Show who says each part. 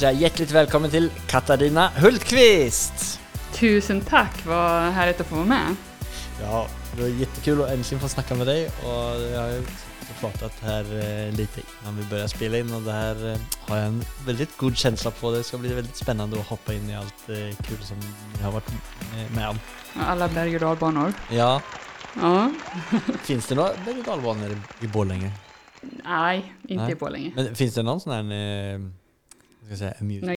Speaker 1: jag är hjärtligt välkommen till Katarina Hultqvist!
Speaker 2: Tusen tack, vad härligt att få vara med.
Speaker 1: Ja, det var jättekul att äntligen få snacka med dig och jag har ju också pratat här eh, lite innan vi börjar spela in och det här eh, har jag en väldigt god känsla på. Det ska bli väldigt spännande att hoppa in i allt eh, kul som ni har varit eh, med om.
Speaker 2: Alla berg och dalbanor.
Speaker 1: Ja,
Speaker 2: Ja.
Speaker 1: finns det några berg och dalbanor i- i Borlänge?
Speaker 2: Nej, inte
Speaker 1: Nej.
Speaker 2: i Borlänge.
Speaker 1: Men finns det någon sån här, eh, vad ska jag säga, amusement?